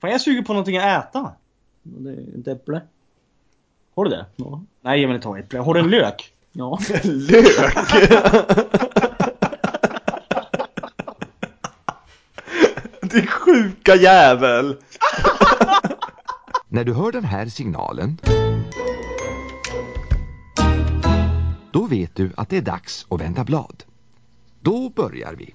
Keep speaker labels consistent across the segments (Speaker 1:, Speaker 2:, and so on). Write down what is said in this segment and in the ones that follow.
Speaker 1: Fan, jag suger på någonting att äta.
Speaker 2: Det är ett äpple.
Speaker 1: Har du det?
Speaker 2: Ja.
Speaker 1: Nej, ge mig inte ta äpple. Har du en lök?
Speaker 2: ja.
Speaker 3: Lök! Din sjuka jävel!
Speaker 4: När du hör den här signalen då vet du att det är dags att vända blad. Då börjar vi.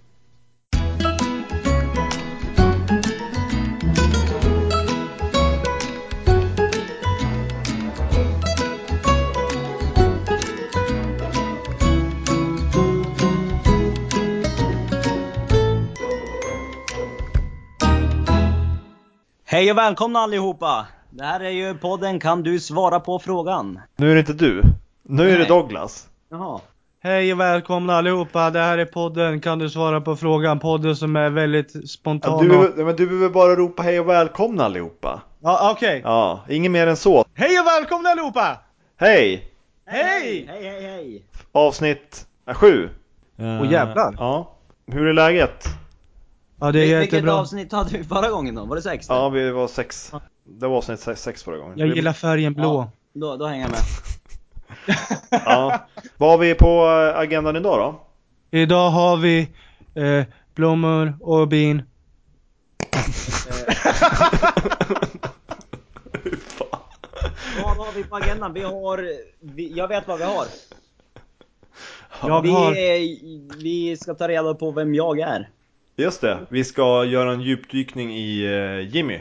Speaker 1: Hej och välkomna allihopa! Det här är ju podden Kan du svara på frågan?
Speaker 3: Nu är det inte du. Nu är det
Speaker 1: Nej.
Speaker 3: Douglas.
Speaker 1: Jaha.
Speaker 5: Hej och välkomna allihopa, det här är podden Kan du svara på frågan? Podden som är väldigt
Speaker 3: Ja,
Speaker 5: spontan
Speaker 3: Du,
Speaker 5: och...
Speaker 3: behöver- men du behöver bara ropa hej och välkomna allihopa.
Speaker 5: Ja, okej.
Speaker 3: Ja, inget mer än så.
Speaker 5: Hej och välkomna allihopa!
Speaker 3: Hej!
Speaker 1: Hej! Hej, hej, hej!
Speaker 3: Avsnitt eh, sju.
Speaker 5: Åh, jävlar.
Speaker 3: Ja. Hur är läget?
Speaker 5: Ja, det är
Speaker 1: Vil- Vilket
Speaker 5: jättebra.
Speaker 1: avsnitt hade vi förra gången då? Var det sex?
Speaker 3: Ja, vi var sex. Det var avsnitt sex, sex förra gången.
Speaker 5: Jag
Speaker 3: Vi-
Speaker 5: gillar färgen blå.
Speaker 1: Då, då hänger jag med.
Speaker 3: Ja. Vad har vi på eh, agendan idag då?
Speaker 5: Idag har vi eh, blommor och bin.
Speaker 1: Vad har vi på agendan? Vi har... Vi, jag vet vad vi har.
Speaker 5: Jag
Speaker 1: vi,
Speaker 5: har...
Speaker 1: eh, vi ska ta reda på vem jag är.
Speaker 3: Just det, vi ska göra en djupdykning i eh, Jimmy.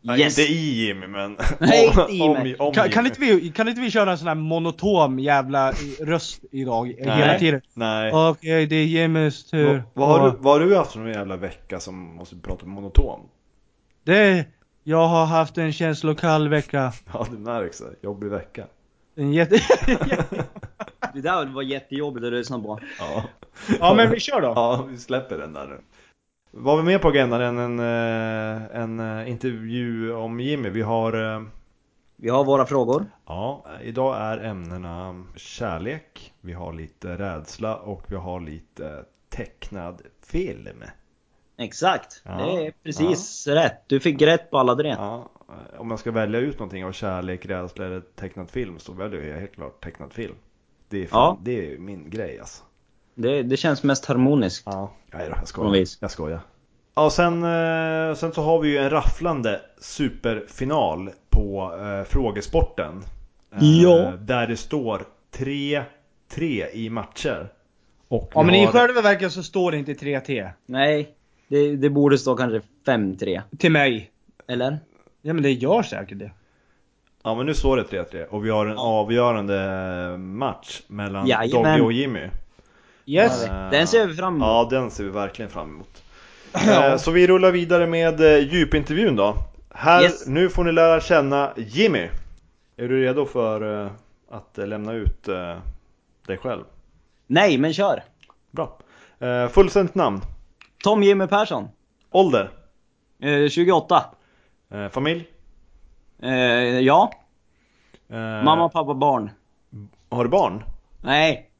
Speaker 3: Nej,
Speaker 1: Yes!
Speaker 3: Inte i Jimmy men...
Speaker 1: Nej,
Speaker 3: om,
Speaker 1: inte i mig.
Speaker 3: om
Speaker 5: Kan,
Speaker 3: Jimmy.
Speaker 5: kan, inte vi, kan inte vi köra en sån här monotom jävla i- röst idag? eh, Hela
Speaker 3: Nej.
Speaker 5: tiden.
Speaker 3: Nej.
Speaker 5: Okej, det är Jimmys
Speaker 3: Vad,
Speaker 5: tur.
Speaker 3: vad, har
Speaker 5: Och
Speaker 3: du, vad har du haft för någon jävla vecka som måste prata monotom?
Speaker 5: Det... Jag har haft en känslokall vecka.
Speaker 3: Ja det märks, det. jobbig vecka.
Speaker 5: En jätte...
Speaker 1: Det där var jättejobbigt att lyssna på.
Speaker 3: Ja.
Speaker 5: ja, men vi kör då.
Speaker 3: ja, vi släpper den där nu. Vad har vi mer på agendan än en, eh, en eh, intervju om Jimmy? Vi har... eh,
Speaker 1: Vi har våra frågor.
Speaker 3: Ja, idag är ämnena kärlek, vi har lite rädsla och vi har lite tecknad film.
Speaker 1: Exakt.
Speaker 3: Ja.
Speaker 1: Det är precis rätt. Du fick rätt på alla tre.
Speaker 3: Ja, eh, om jag ska välja ut någonting av kärlek, rädsla eller tecknad film så väljer jag helt klart tecknad film. Det är, fan,
Speaker 1: Ja.
Speaker 3: det är min grej alltså.
Speaker 1: Det, det känns mest harmoniskt.
Speaker 3: Ja, nej då, jag
Speaker 1: På något
Speaker 3: skojar.
Speaker 1: vis.
Speaker 3: Jag skojar. Ja, sen, eh, sen så har vi ju en rafflande superfinal på eh, frågesporten. Eh,
Speaker 1: Ja.
Speaker 3: Där det står 3-3 i matcher. Och
Speaker 5: Ja,
Speaker 3: vi
Speaker 5: men i
Speaker 3: har-
Speaker 5: själva verket så står det inte 3T.
Speaker 1: Nej, det, det borde stå kanske 5-3.
Speaker 5: Till mig.
Speaker 1: Eller?
Speaker 5: Ja men det gör säkert det.
Speaker 3: Ja men nu står det 3-3 och vi har en avgörande eh, match mellan
Speaker 1: Jajamän.
Speaker 3: Dogge och Jimmy.
Speaker 5: Yes.
Speaker 3: Eh,
Speaker 1: Den ser vi fram emot.
Speaker 3: Ja den ser vi verkligen fram emot. Eh, Så vi rullar vidare med eh, djupintervjun då. Här,
Speaker 1: Yes.
Speaker 3: Nu får ni lära känna Jimmy. Är du redo för eh, att eh, lämna ut eh, dig själv?
Speaker 1: Nej, men kör!
Speaker 3: Bra. Eh, Fullständigt namn,
Speaker 1: Tom Jimmy Persson.
Speaker 3: ålder,
Speaker 1: Eh, 28.
Speaker 3: eh, familj,
Speaker 1: Eh, ja.
Speaker 3: eh,
Speaker 1: Mamma, pappa, barn.
Speaker 3: har du barn?
Speaker 1: Nej.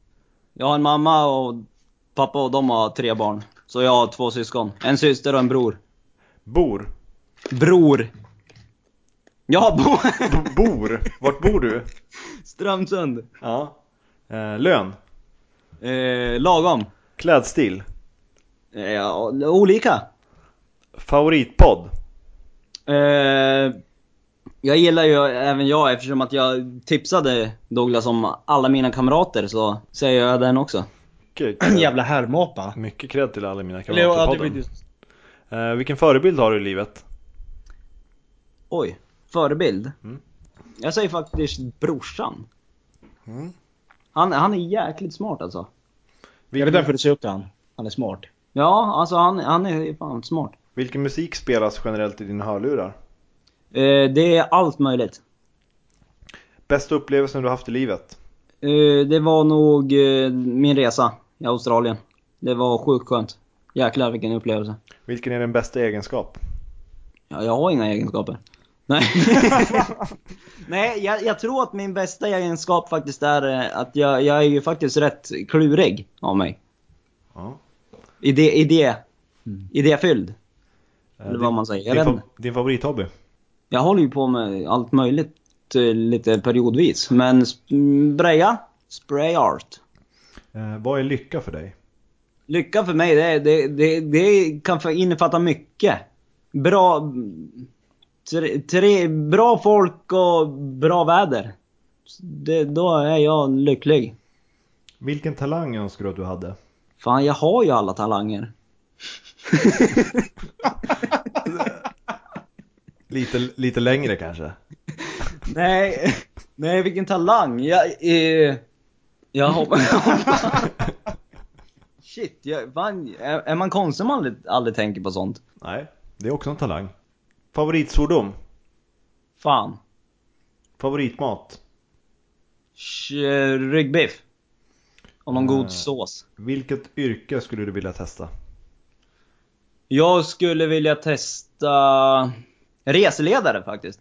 Speaker 1: Jag har en mamma och pappa och de har tre barn. Så jag har två syskon. En syster och en bror.
Speaker 3: Bor?
Speaker 1: Bror! Jag bor...
Speaker 3: B- bor? Vart bor du?
Speaker 1: Strömsund.
Speaker 3: Ja. Eh, Lön?
Speaker 1: Eh, lagom.
Speaker 3: Klädstil?
Speaker 1: Eh, ja, olika.
Speaker 3: Favoritpodd?
Speaker 1: Eh, jag gillar ju även jag eftersom att jag tipsade Douglas om alla mina kamrater så säger jag den också.
Speaker 3: Mycket
Speaker 5: En
Speaker 3: cred.
Speaker 5: jävla härmapa.
Speaker 3: Mycket cred till alla mina
Speaker 5: Eller ja, det
Speaker 3: kamrater
Speaker 5: blir
Speaker 3: i podden.
Speaker 5: just...
Speaker 3: Eh, vilken förebild har du i livet?
Speaker 1: Oj, förebild.
Speaker 3: Mm.
Speaker 1: Jag säger faktiskt brorsan. Han, han är jäkligt smart alltså.
Speaker 5: Ja, det är
Speaker 3: Vilken,
Speaker 5: därför du ser upp till han. Han är smart.
Speaker 1: Ja, alltså han, han är fan smart.
Speaker 3: vilken musik spelas generellt i dina hörlurar?
Speaker 1: Eh, det är allt möjligt.
Speaker 3: Bästa upplevelsen du haft i livet?
Speaker 1: Eh, det var nog eh, min resa i Australien. Det var sjukt skönt. Jäklar vilken upplevelse.
Speaker 3: Vilken är din bästa egenskap?
Speaker 1: Ja, jag har inga egenskaper. Nej, Nej jag, jag tror att min bästa egenskap faktiskt är eh, att jag, jag är ju faktiskt rätt klurig av mig.
Speaker 3: Ja.
Speaker 1: Idé, idé, idéfylld.
Speaker 3: Eh,
Speaker 1: Eller vad man säger.
Speaker 3: Din,
Speaker 1: Jag, vet
Speaker 3: fa-
Speaker 1: inte.
Speaker 3: din favorithobby?
Speaker 1: jag håller ju på med allt möjligt eh, lite periodvis. Men sp- mm, breja, spray art.
Speaker 3: Eh, vad är lycka för dig?
Speaker 1: Lycka för mig, det, det, det, det kan för- innefatta mycket. Bra... mm, Tre, tre, bra folk och bra väder. Det, då är jag lycklig.
Speaker 3: Vilken talang önskar du att du hade?
Speaker 1: Fan, jag har ju alla talanger.
Speaker 3: Lite, lite längre kanske?
Speaker 1: Nej, nej vilken talang. Jag, eh, jag hoppas... Shit, jag, fan, är, är man konstig om man aldrig, aldrig tänker på sånt?
Speaker 3: Nej, det är också en talang. Favoritsvordom?
Speaker 1: Fan.
Speaker 3: Favoritmat?
Speaker 1: Sh- ryggbiff. Och någon
Speaker 3: Mm.
Speaker 1: god sås.
Speaker 3: Vilket yrke skulle du vilja testa?
Speaker 1: Jag skulle vilja testa reseledare faktiskt.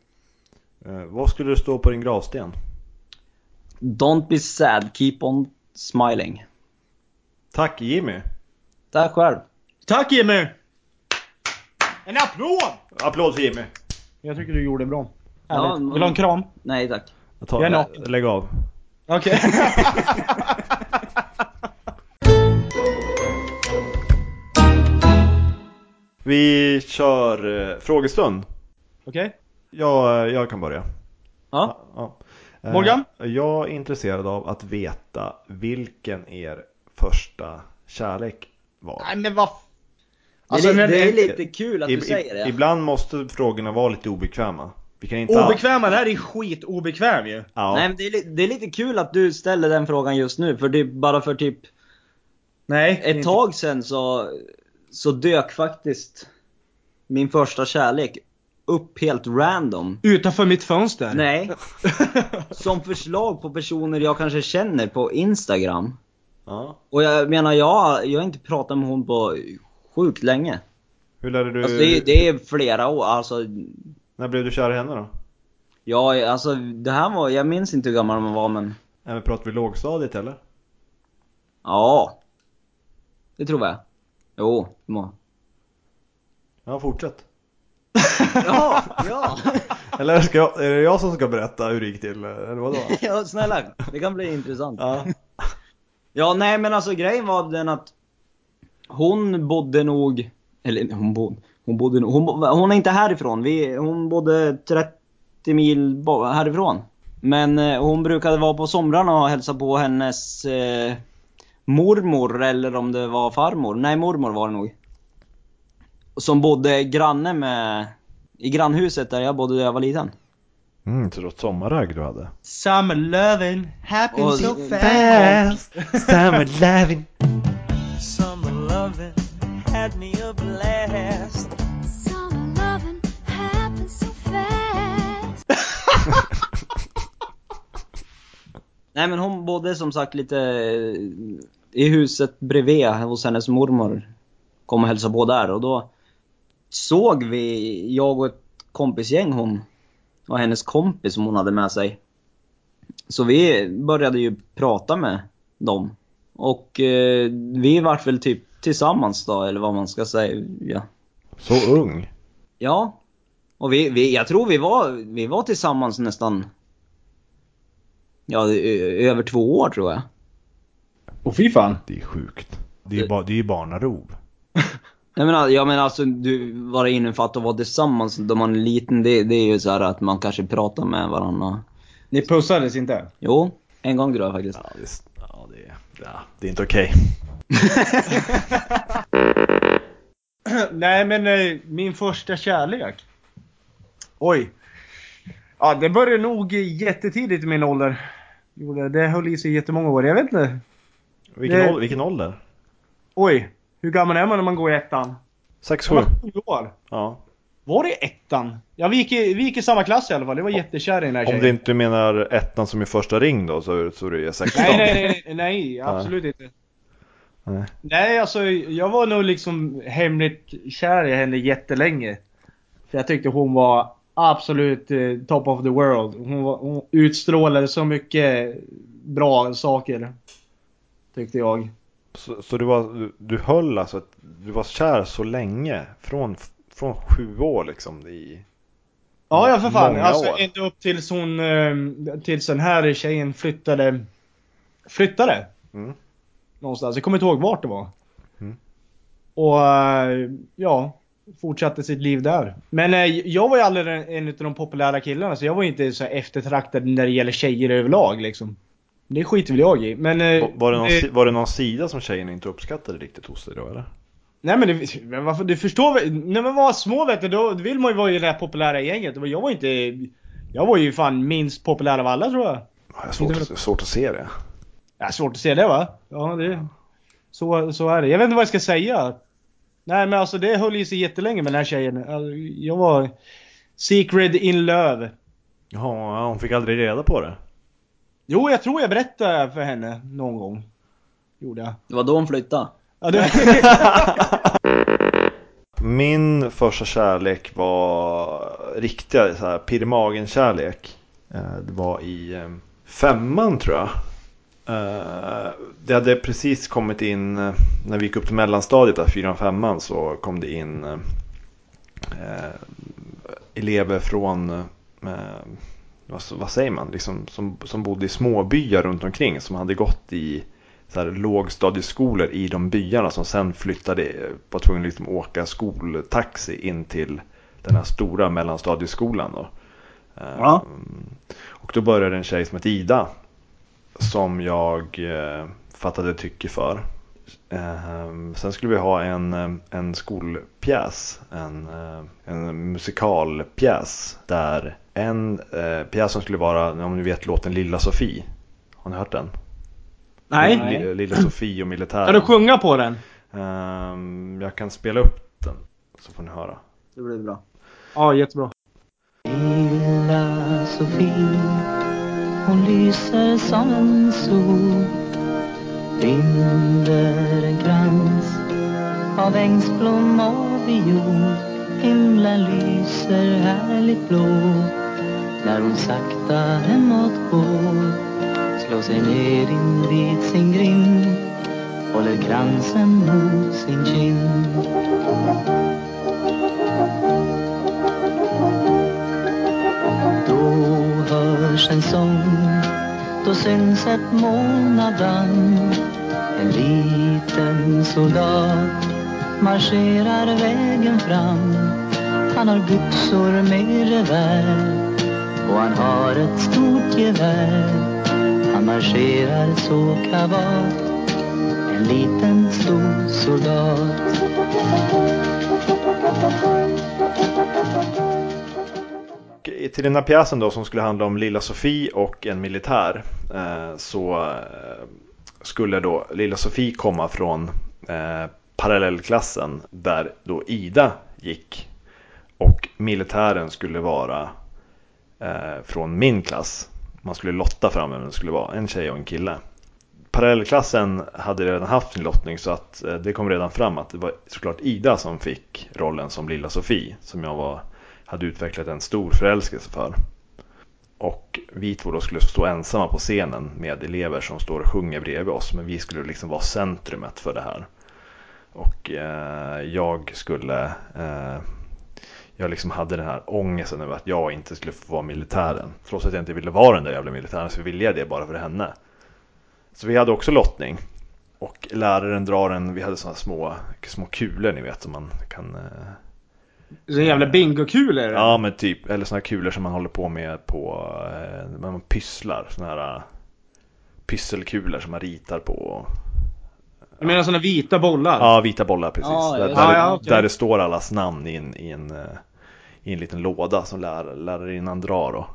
Speaker 3: Eh, vad skulle det stå på din gravsten?
Speaker 1: Don't be sad, keep on smiling.
Speaker 3: Tack Jimmy!
Speaker 1: Tack själv.
Speaker 5: Tack Jimmy! En applåd!
Speaker 3: Applåd för Jimmy!
Speaker 5: Jag tycker du gjorde bra.
Speaker 1: Ja,
Speaker 5: Härligt.
Speaker 1: men-
Speaker 5: Vill du ha en kram?
Speaker 1: Nej tack.
Speaker 3: Jag tar,
Speaker 5: Jag är naken.
Speaker 3: Lägg av.
Speaker 5: Okej.
Speaker 3: Vi kör eh, frågestund.
Speaker 5: Okej.
Speaker 3: Jag, jag kan börja.
Speaker 1: Ja.
Speaker 3: Ja. Eh,
Speaker 5: Morgan?
Speaker 3: Jag är intresserad av att veta vilken er första kärlek var.
Speaker 5: Nej men vad...
Speaker 1: det, är, li-
Speaker 5: men-
Speaker 1: det är lite kul att
Speaker 3: Alltså,
Speaker 1: du
Speaker 3: I-
Speaker 1: säger
Speaker 3: i-
Speaker 1: det.
Speaker 3: Ibland måste frågorna vara lite obekväma. Vi kan inte all-
Speaker 5: Obekväma, det här är skitobekväm ju.
Speaker 3: Ja.
Speaker 1: Nej, men det, är, li- det är lite kul att du ställer den frågan just nu, för det är bara för typ
Speaker 5: Nej.
Speaker 3: Mm.
Speaker 1: ett tag sen så, så dök faktiskt min första kärlek upp helt random.
Speaker 5: Utanför mitt fönster.
Speaker 1: Nej. Som förslag på personer jag kanske känner på Instagram.
Speaker 3: Ja.
Speaker 1: Och jag menar, jag, jag har inte pratat med hon på sjukt länge.
Speaker 3: Hur lärde du...
Speaker 1: Alltså det, är- det är flera år, alltså.
Speaker 3: När blev du kär i henne då?
Speaker 1: Ja, alltså det här var, jag minns inte hur gammal man var men,
Speaker 3: Även pratar vi lågstadiet eller?
Speaker 1: ja. Det tror jag. Jo, det må-
Speaker 3: Ja, fortsätt.
Speaker 1: Ja, ja.
Speaker 3: Eller ska jag, är det jag som ska berätta hur det gick till? Eller vadå?
Speaker 1: ja, snälla. Det kan bli intressant.
Speaker 3: Ja.
Speaker 1: Ja, nej men alltså grejen var den att hon bodde nog, eller hon bodde, hon bodde nog, hon, bo- hon är inte härifrån. Vi, hon bodde 30 mil bo- härifrån. Men eh, hon brukade vara på somrarna och hälsa på hennes eh, mormor eller om det var farmor. Nej, mormor var det nog. Som bodde granne med, i grannhuset där jag bodde när jag var liten.
Speaker 3: Mm, så det var ett sommarragg du hade.
Speaker 5: Summer loving happens
Speaker 1: Och-
Speaker 5: so fast.
Speaker 3: Summer loving.
Speaker 6: Summer loving had me a blast.
Speaker 7: Summer loving happens so fast.
Speaker 1: Nej men hon bodde som sagt lite eh, i huset bredvid hos hennes mormor. Kom och hälsade på där och då såg vi, jag och ett kompisgäng hon och hennes kompis som hon hade med sig. Så vi började ju prata med dem. Och eh, vi vart väl typ tillsammans då eller vad man ska säga. Ja.
Speaker 3: Så ung.
Speaker 1: ja. Och vi, vi, jag tror vi var, vi var tillsammans nästan, ja ö- över två år tror jag.
Speaker 5: Och fy fan.
Speaker 3: Det är sjukt. Det är ju ba, det är ju barnarov.
Speaker 1: Nej men, al- ja, men alltså du, vad det innefattar att vara tillsammans då man är liten, det, det är ju så här att man kanske pratar med varandra.
Speaker 5: Ni pussades inte?
Speaker 1: Jo, en gång tror jag faktiskt.
Speaker 3: Ja, visst. Ja, det är, ja, det är inte okej.
Speaker 5: Nej men eh, min första kärlek. Oj. Ja det började nog jättetidigt i min ålder. Gjorde det. Det höll i sig jättemånga år. Jag vet inte.
Speaker 3: Vilken,
Speaker 5: Det-
Speaker 3: ål- vilken ålder?
Speaker 5: Oj. Hur gammal är man när man går i ettan?
Speaker 3: 6-7?
Speaker 5: Jag var sju år.
Speaker 3: Ja.
Speaker 5: Var det ettan? Ja vi gick, i, vi gick i samma klass i alla fall. Jag var jättekär i den här
Speaker 3: Om
Speaker 5: tjejen.
Speaker 3: du inte menar ettan som är första ring då så, så är det 16?
Speaker 5: Nej, nej, nej, nej, nej, absolut inte.
Speaker 3: Nej.
Speaker 5: Nej, alltså jag var nog liksom hemligt kär i henne jättelänge. För jag tyckte hon var absolut eh, top of the world. Hon, var, hon utstrålade så mycket bra saker. Tyckte jag.
Speaker 3: Så, så du, var, du, du höll alltså, att- du var kär så länge från f- från sju år liksom i...
Speaker 5: Ja, ja för fan.
Speaker 3: Många
Speaker 5: Alltså
Speaker 3: år.
Speaker 5: ända upp tills hon, eh, tills den här tjejen flyttade, flyttade.
Speaker 3: Mm.
Speaker 5: Någonstans, jag kommer inte ihåg vart det var.
Speaker 3: Mm.
Speaker 5: Och eh, ja, fortsatte sitt liv där. Men eh, jag var ju aldrig en, en av de populära killarna så jag var ju inte så här eftertraktad när det gäller tjejer överlag liksom. Det skiter väl jag i. Men, eh,
Speaker 3: Va- Var det, någon,
Speaker 5: det-
Speaker 3: si- var det någon sida som tjejerna inte uppskattade riktigt hos dig då eller?
Speaker 5: Nej men, det, men varför, du förstår väl? När man var små vet du, då vill man ju vara i det här populära gänget. Och Jag var inte... Jag var ju fan minst populär av alla tror jag.
Speaker 3: Ja, Jag har svårt, att- svårt att se det.
Speaker 5: Ja, svårt att se det va? Ja, det... Så, så är det. Jag vet inte vad jag ska säga. Nej men alltså det höll ju sig jättelänge med den här tjejen. Alltså, Jag var... Secret in love.
Speaker 3: Ja, hon fick aldrig reda på det.
Speaker 5: Jo, jag tror jag berättade för henne någon gång. Gjorde jag.
Speaker 1: Det var då hon flyttade.
Speaker 5: Ja, det...
Speaker 3: Min första kärlek var riktiga så här, pirr kärlek Det var i eh, femman tror jag. Eh, Det hade precis kommit in, eh, när vi gick upp till mellanstadiet där, fyran, femman, så kom det in eh, eh, elever från, eh, vad, vad säger man, liksom, som, som bodde i småbyar runt omkring som hade gått i så här, lågstadieskolor i de byarna som sen flyttade, var tvungna att liksom åka skoltaxi in till den här stora mellanstadieskolan. Då. Eh,
Speaker 1: Ja.
Speaker 3: Och då började en tjej som hette Ida som jag eh, fattade tycke för. Ehm, sen skulle vi ha en, eh, en skolpjäs, en, eh, en musikalpjäs där en eh, pjäs som skulle vara, om ni vet låten Lilla Sofie. Har ni hört den?
Speaker 1: Nej.
Speaker 5: Nej.
Speaker 3: Lilla, Lilla Sofie och militären.
Speaker 5: Kan du sjunga på den?
Speaker 3: Ehm, jag kan spela upp den så får ni höra.
Speaker 1: Det blev bra.
Speaker 5: Ja, jättebra.
Speaker 6: Lilla Sofie, hon lyser som en sol Binder en krans av ängsblom och viol Himlen lyser härligt blå när hon sakta hemåt går Slår sig ner invid sin grind håller kransen mot sin kind Då hörs en sång, då syns ett moln av damm. En liten soldat marscherar vägen fram. Han har byxor med revär och han har ett stort gevär. Han marscherar så kavat, en liten stor soldat.
Speaker 3: Och till den här pjäsen då som skulle handla om Lilla Sofie och en militär eh, så eh, skulle då Lilla Sofie komma från eh, parallellklassen där då Ida gick och militären skulle vara eh, från min klass. Man skulle lotta fram vem det skulle vara, en tjej och en kille. Parallellklassen hade redan haft sin lottning så att eh, det kom redan fram att det var såklart Ida som fick rollen som Lilla Sofie som jag var hade utvecklat en stor förälskelse för. Och vi två då skulle stå ensamma på scenen med elever som står och sjunger bredvid oss. Men vi skulle liksom vara centrumet för det här. Och eh, jag skulle... Eh, jag liksom hade den här ångesten över att jag inte skulle få vara militären. Trots att jag inte ville vara den där jävla militären så ville jag det bara för henne. Så vi hade också lottning. Och läraren drar en, vi hade sådana små, små kulor ni vet som man kan eh,
Speaker 5: Så jävla bingokulor.
Speaker 3: Ja men typ, eller såna här kulor som man håller på med på, eh, när man pysslar, såna här eh, pysselkulor som man ritar på.
Speaker 5: Jag menar såna vita bollar.
Speaker 3: Ja, vita bollar precis.
Speaker 1: Ja,
Speaker 3: där,
Speaker 1: ja,
Speaker 3: där,
Speaker 5: ja, okej.
Speaker 3: där det står allas namn i en, i en, eh, i en liten låda som lär, lärarinnan drar då.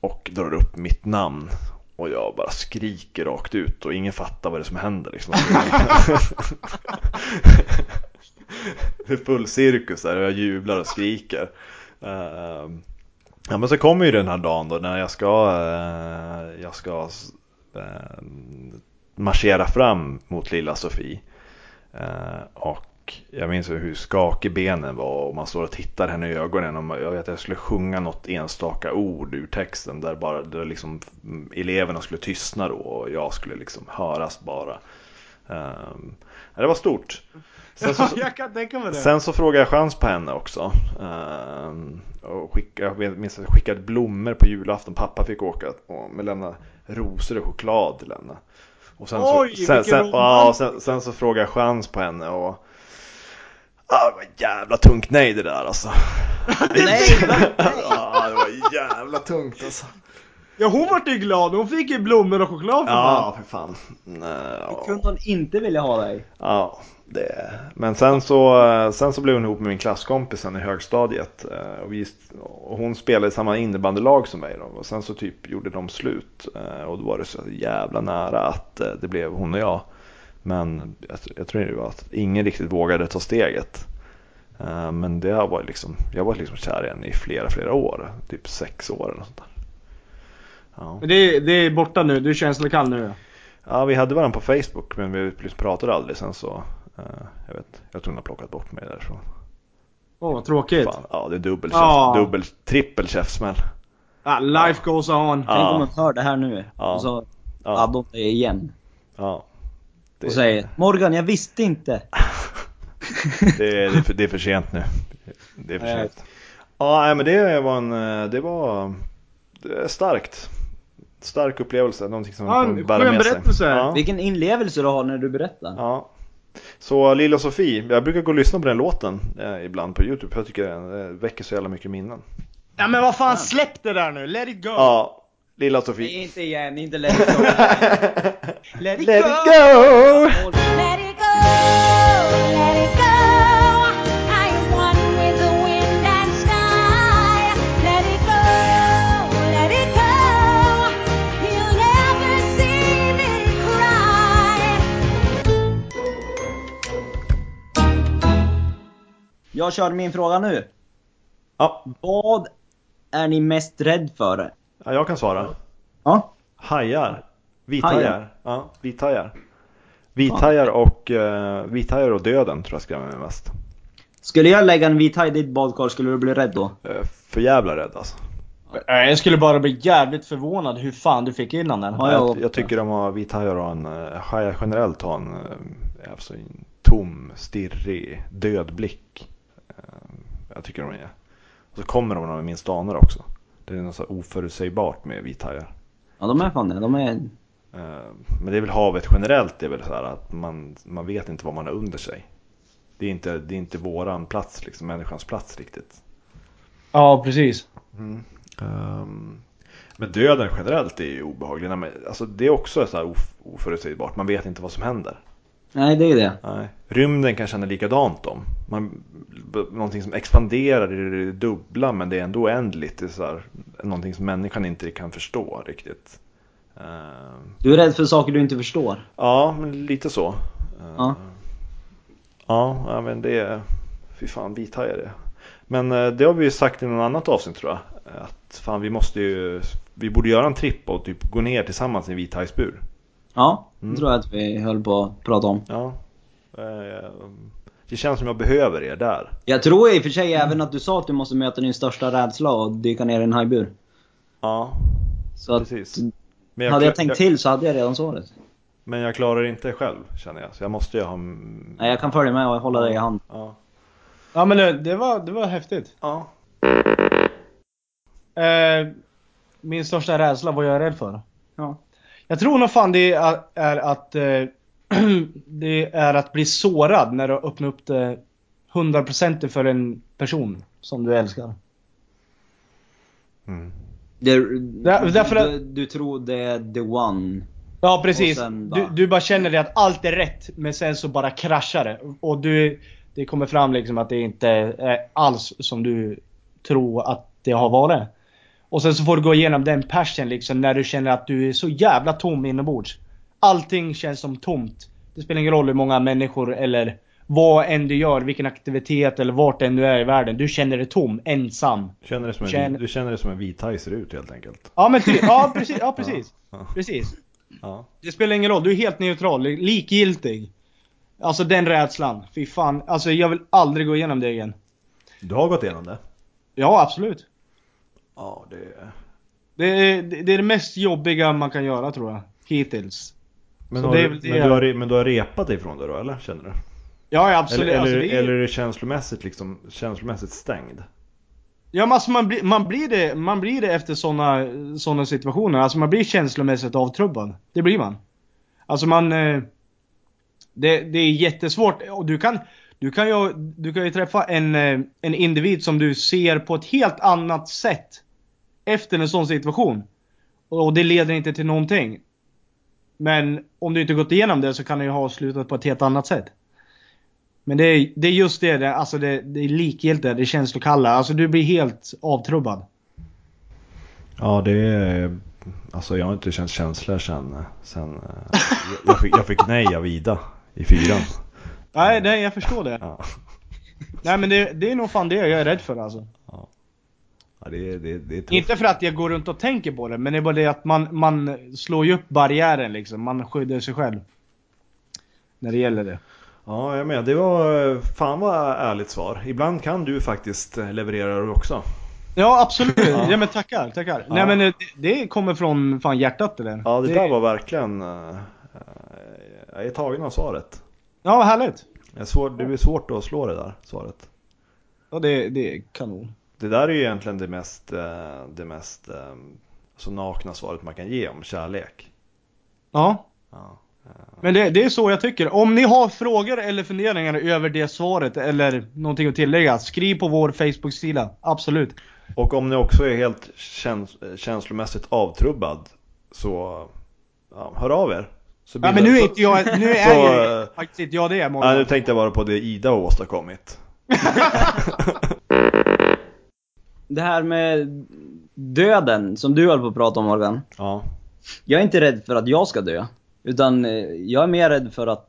Speaker 3: Och drar upp mitt namn. Och jag bara skriker rakt ut och ingen fattar vad det är som händer liksom. det är full cirkus där och jag jublar och skriker. Ehm, Ja men så kommer ju den här dagen då när jag ska, eh, jag ska eh, marschera fram mot lilla Sofie. Eh, och jag minns hur skakig benen var och man står och tittar henne i ögonen. Och man- jag vet att jag skulle sjunga något enstaka ord ur texten där bara där liksom mm, eleverna skulle tystna då och jag skulle liksom höras bara. Ehm, ja, det var stort. Sen så,
Speaker 5: Ja, jag kan tänka mig det.
Speaker 3: sen så frågade jag chans på henne också. Ehm, och skicka, jag minns att jag skickade blommor på julafton. Pappa fick åka och men lämna rosor och choklad. till henne. Och sen,
Speaker 5: Oj,
Speaker 3: så, sen,
Speaker 5: vilken
Speaker 3: sen, ja, och sen, sen så frågade jag chans på henne. Och, ah, det var ett jävla tungt nej det där alltså. ja, det var jävla tungt alltså.
Speaker 5: Ja, hon vart ju glad. Hon fick ju blommor och choklad för fan.
Speaker 3: Ja, för fan. Nej, ja.
Speaker 1: Kunde hon inte vilja ha dig?
Speaker 3: Ja, det. Men sen så, eh, sen så blev hon ihop med min klasskompis sen i högstadiet. eh, Och, vi, st- och hon spelade i samma innebandylag som mig. Då. Och sen så typ gjorde de slut. eh, Och då var det så jävla nära att eh, det blev hon och jag. Men jag, tr- jag tror det var att ingen riktigt vågade ta steget. Eh, Men det har varit liksom, jag har varit liksom kär i henne i flera, flera år. Typ sex år eller något sånt där. Ja.
Speaker 5: Men det, är- det är borta nu. Du är känslokall nu. ja.
Speaker 3: Ja, vi hade varandra på Facebook men vi pratade aldrig sen så. eh, jag vet, jag tror hon har plockat bort mig därifrån.
Speaker 5: Åh, vad tråkigt.
Speaker 3: Fan, ja, det är dubbel,
Speaker 5: Ja.
Speaker 3: käft, dubbel trippel käftsmäll.
Speaker 5: Ah, life goes on.
Speaker 1: Tänk om
Speaker 3: Ja,
Speaker 1: hon hör det här nu.
Speaker 3: Ja.
Speaker 1: Och så
Speaker 3: ja,
Speaker 1: addar hon dig igen.
Speaker 3: ja. Det,
Speaker 1: Och säger Morgan, jag visste inte.
Speaker 3: det, är- det, är för, det är för sent nu. Det är för sent. Ja, nej, men det var en, eh, det var det är starkt. Stark upplevelse, någonting som
Speaker 5: Ja,
Speaker 3: kommer
Speaker 5: en
Speaker 3: bära
Speaker 5: skön
Speaker 3: med sig.
Speaker 5: berättelse.
Speaker 3: Ja,
Speaker 1: Vilken inlevelse du har när du berättar.
Speaker 3: ja. Så Lilla Sofie, jag brukar gå och lyssna på den låten eh, ibland på Youtube för jag tycker den eh, väcker så jävla mycket minnen.
Speaker 5: Ja, men vad fan, släpp det där nu. Let it go.
Speaker 3: Ja, Lilla Sofie.
Speaker 1: Nej, inte igen, inte längre. Let
Speaker 5: Let it
Speaker 3: Let
Speaker 5: go.
Speaker 3: it go!
Speaker 7: Let it go, let it go. I am one with the wind and sky. Let it go, let it go. You'll never see me cry.
Speaker 1: Jag kör min fråga nu.
Speaker 3: Ja,
Speaker 1: Vad är ni mest rädd för?
Speaker 3: ja, jag kan svara.
Speaker 1: Ja.
Speaker 3: Hajar. Vithajar.
Speaker 1: Hajar.
Speaker 3: Ja, vithajar. Vithajar och, uh, vithajar och döden tror jag skrämmer mig mest.
Speaker 1: Skulle jag lägga en vit haj i ditt badkar, skulle du bli rädd då?
Speaker 3: Uh, för jävla rädd alltså.
Speaker 5: Nej, Jag skulle bara bli jävligt förvånad hur fan du fick in den.
Speaker 1: Ja, jag
Speaker 3: jag, jag tycker de har vithajar och en eh, hajar generellt har en, eh, alltså en tom, stirrig, död blick. Eh, jag tycker de är. Och så kommer de när de minst anar också. Det är något så här oförutsägbart med vithajar.
Speaker 1: Ja, de är fan det. De är...
Speaker 3: Eh, Men det är väl havet generellt, det är väl så här att man, man vet inte vad man har under sig. Det är inte, det är inte våran plats, liksom, människans plats riktigt.
Speaker 5: Ja, precis.
Speaker 3: Ehm, Men döden generellt är ju obehaglig. Nej, men, alltså, det är också så här of, oförutsägbart, man vet inte vad som händer.
Speaker 1: Nej, det är ju det.
Speaker 3: Nej. Rymden kan känna likadant om. Man, b- någonting som expanderar i det dubbla men det är ändå oändligt. Det är så här, någonting som människan inte kan förstå riktigt. Ehm,
Speaker 1: Du är rädd för saker du inte förstår.
Speaker 3: Ja, men lite så. Eh,
Speaker 1: Ja.
Speaker 3: Ja, ja, men det är... Fy fan, vithajar det. Men eh, det har vi ju sagt i något annat avsnitt tror jag. Att fan, vi måste ju... Vi borde göra en tripp och typ gå ner tillsammans i en vithajsbur.
Speaker 1: Ja,
Speaker 3: Mm.
Speaker 1: det tror jag att vi höll på att prata om.
Speaker 3: Ja. Eh, Det känns som jag behöver er där.
Speaker 1: Jag tror i och för sig även att du sa att du måste möta din största rädsla och dyka ner i en hajbur.
Speaker 3: Ja,
Speaker 1: Så att,
Speaker 3: precis. Men
Speaker 1: hade jag
Speaker 3: kla-
Speaker 1: tänkt till så hade jag redan svaret.
Speaker 3: Men jag klarar det inte själv känner jag. Så jag måste ju ha... mm,
Speaker 1: Nej, jag kan följa med och hålla dig i hand.
Speaker 3: Ja.
Speaker 5: Ja, men det, det, var, det var häftigt.
Speaker 3: ja.
Speaker 5: Eh, min största rädsla, vad jag är rädd för?
Speaker 1: Ja.
Speaker 5: Jag tror nog fan det är, är att eh, det är att bli sårad när du öppnar upp det 100% för en person som du älskar.
Speaker 3: Mm.
Speaker 1: Du,
Speaker 5: Där- därför att-
Speaker 1: du, du tror det är the one.
Speaker 5: Ja precis.
Speaker 1: Och sen bara-
Speaker 5: Du, du bara känner det att allt är rätt men sen så bara kraschar det. Och du, det kommer fram liksom att det inte är alls som du tror att det har varit. Och sen så får du gå igenom den passion liksom när du känner att du är så jävla tom inombords. Allting känns som tomt. Det spelar ingen roll hur många människor eller vad än du gör, vilken aktivitet eller vart än du är i världen. Du känner dig tom, ensam.
Speaker 3: Känner det som en,
Speaker 5: Känn-
Speaker 3: Du känner det som en vithaj ser ut helt enkelt.
Speaker 5: Ja men ty, ja precis. Ja, precis.
Speaker 3: Ja.
Speaker 5: precis.
Speaker 3: Ja.
Speaker 5: Det spelar ingen roll, du är helt neutral, likgiltig. Alltså den rädslan, fy fan. Alltså jag vill aldrig gå igenom det igen.
Speaker 3: Du har gått igenom det?
Speaker 5: Ja, absolut.
Speaker 3: Ja, det...
Speaker 5: Det är det, är det mest jobbiga man kan göra tror jag. Hittills.
Speaker 3: Men,
Speaker 5: Så
Speaker 3: har
Speaker 5: det är
Speaker 3: du,
Speaker 5: väl det
Speaker 3: men, du
Speaker 5: jag-
Speaker 3: har, re- men du har repat dig från det då eller? Känner du?
Speaker 5: Ja, ja, absolut.
Speaker 3: eller,
Speaker 5: alltså,
Speaker 3: eller,
Speaker 5: det är,
Speaker 3: eller är det känslomässigt, liksom, känslomässigt stängd?
Speaker 5: Ja, men alltså, man, blir, man, blir det, man blir det efter sådana såna situationer. Alltså man blir känslomässigt avtrubbad. Det blir man. Alltså man... eh, Det, det är jättesvårt. Och du kan, du, kan ju, du kan ju träffa en, eh, en individ som du ser på ett helt annat sätt efter en sån situation. Och det leder inte till någonting. Men om du inte gått igenom det så kan det ju ha slutat på ett helt annat sätt. Men det är, det är just det, det, alltså det, det är likgiltiga, det är känslokalla. Alltså du blir helt avtrubbad.
Speaker 3: Ja, det är... Alltså jag har inte känt känslor sen... sen eh, jag, fick, jag fick nej av Ida i fyran.
Speaker 5: Nej, nej jag förstår det.
Speaker 3: Ja.
Speaker 5: Nej men det, det är nog fan det jag är rädd för alltså.
Speaker 3: Ja, det, är- det, är- det är tufft.
Speaker 5: Inte för att jag går runt och tänker på det, men det är bara det att man, man slår ju upp barriären liksom. Man skyddar sig själv. När det gäller det.
Speaker 3: Ja, jag med. Det var... Fan vad ärligt svar. Ibland kan du faktiskt eh, leverera det också.
Speaker 5: Ja absolut, ja men tackar, tackar.
Speaker 3: Ja.
Speaker 5: Nej men eh, det, det kommer från fan hjärtat det där.
Speaker 3: Ja, det där var verkligen... eh, Jag är tagen av svaret.
Speaker 5: Ja härligt.
Speaker 3: Jag är svår, det är svårt att slå det där svaret.
Speaker 5: Ja det, det är kanon.
Speaker 3: Det där är ju egentligen det mest, eh, det mest eh, så nakna svaret man kan ge om kärlek.
Speaker 5: Ja.
Speaker 3: Ja.
Speaker 5: Men det, det är så jag tycker. Om ni har frågor eller funderingar över det svaret eller någonting att tillägga, skriv på vår Facebook-sida. Absolut.
Speaker 3: Och om ni också är helt käns känslomässigt avtrubbad så ja, hör av er. Så
Speaker 5: Ja,
Speaker 3: blir
Speaker 5: men
Speaker 3: det-
Speaker 5: nu är
Speaker 3: så-
Speaker 5: inte jag, nu är
Speaker 3: så,
Speaker 5: jag
Speaker 3: eh,
Speaker 5: faktiskt inte jag det
Speaker 3: Ja, nu
Speaker 5: Morgan.
Speaker 3: tänkte jag bara på det Ida har åstadkommit.
Speaker 1: Det här med döden som du höll på att prata om Morgan.
Speaker 3: Ja.
Speaker 1: Jag är inte rädd för att jag ska dö. Utan eh, jag är mer rädd för att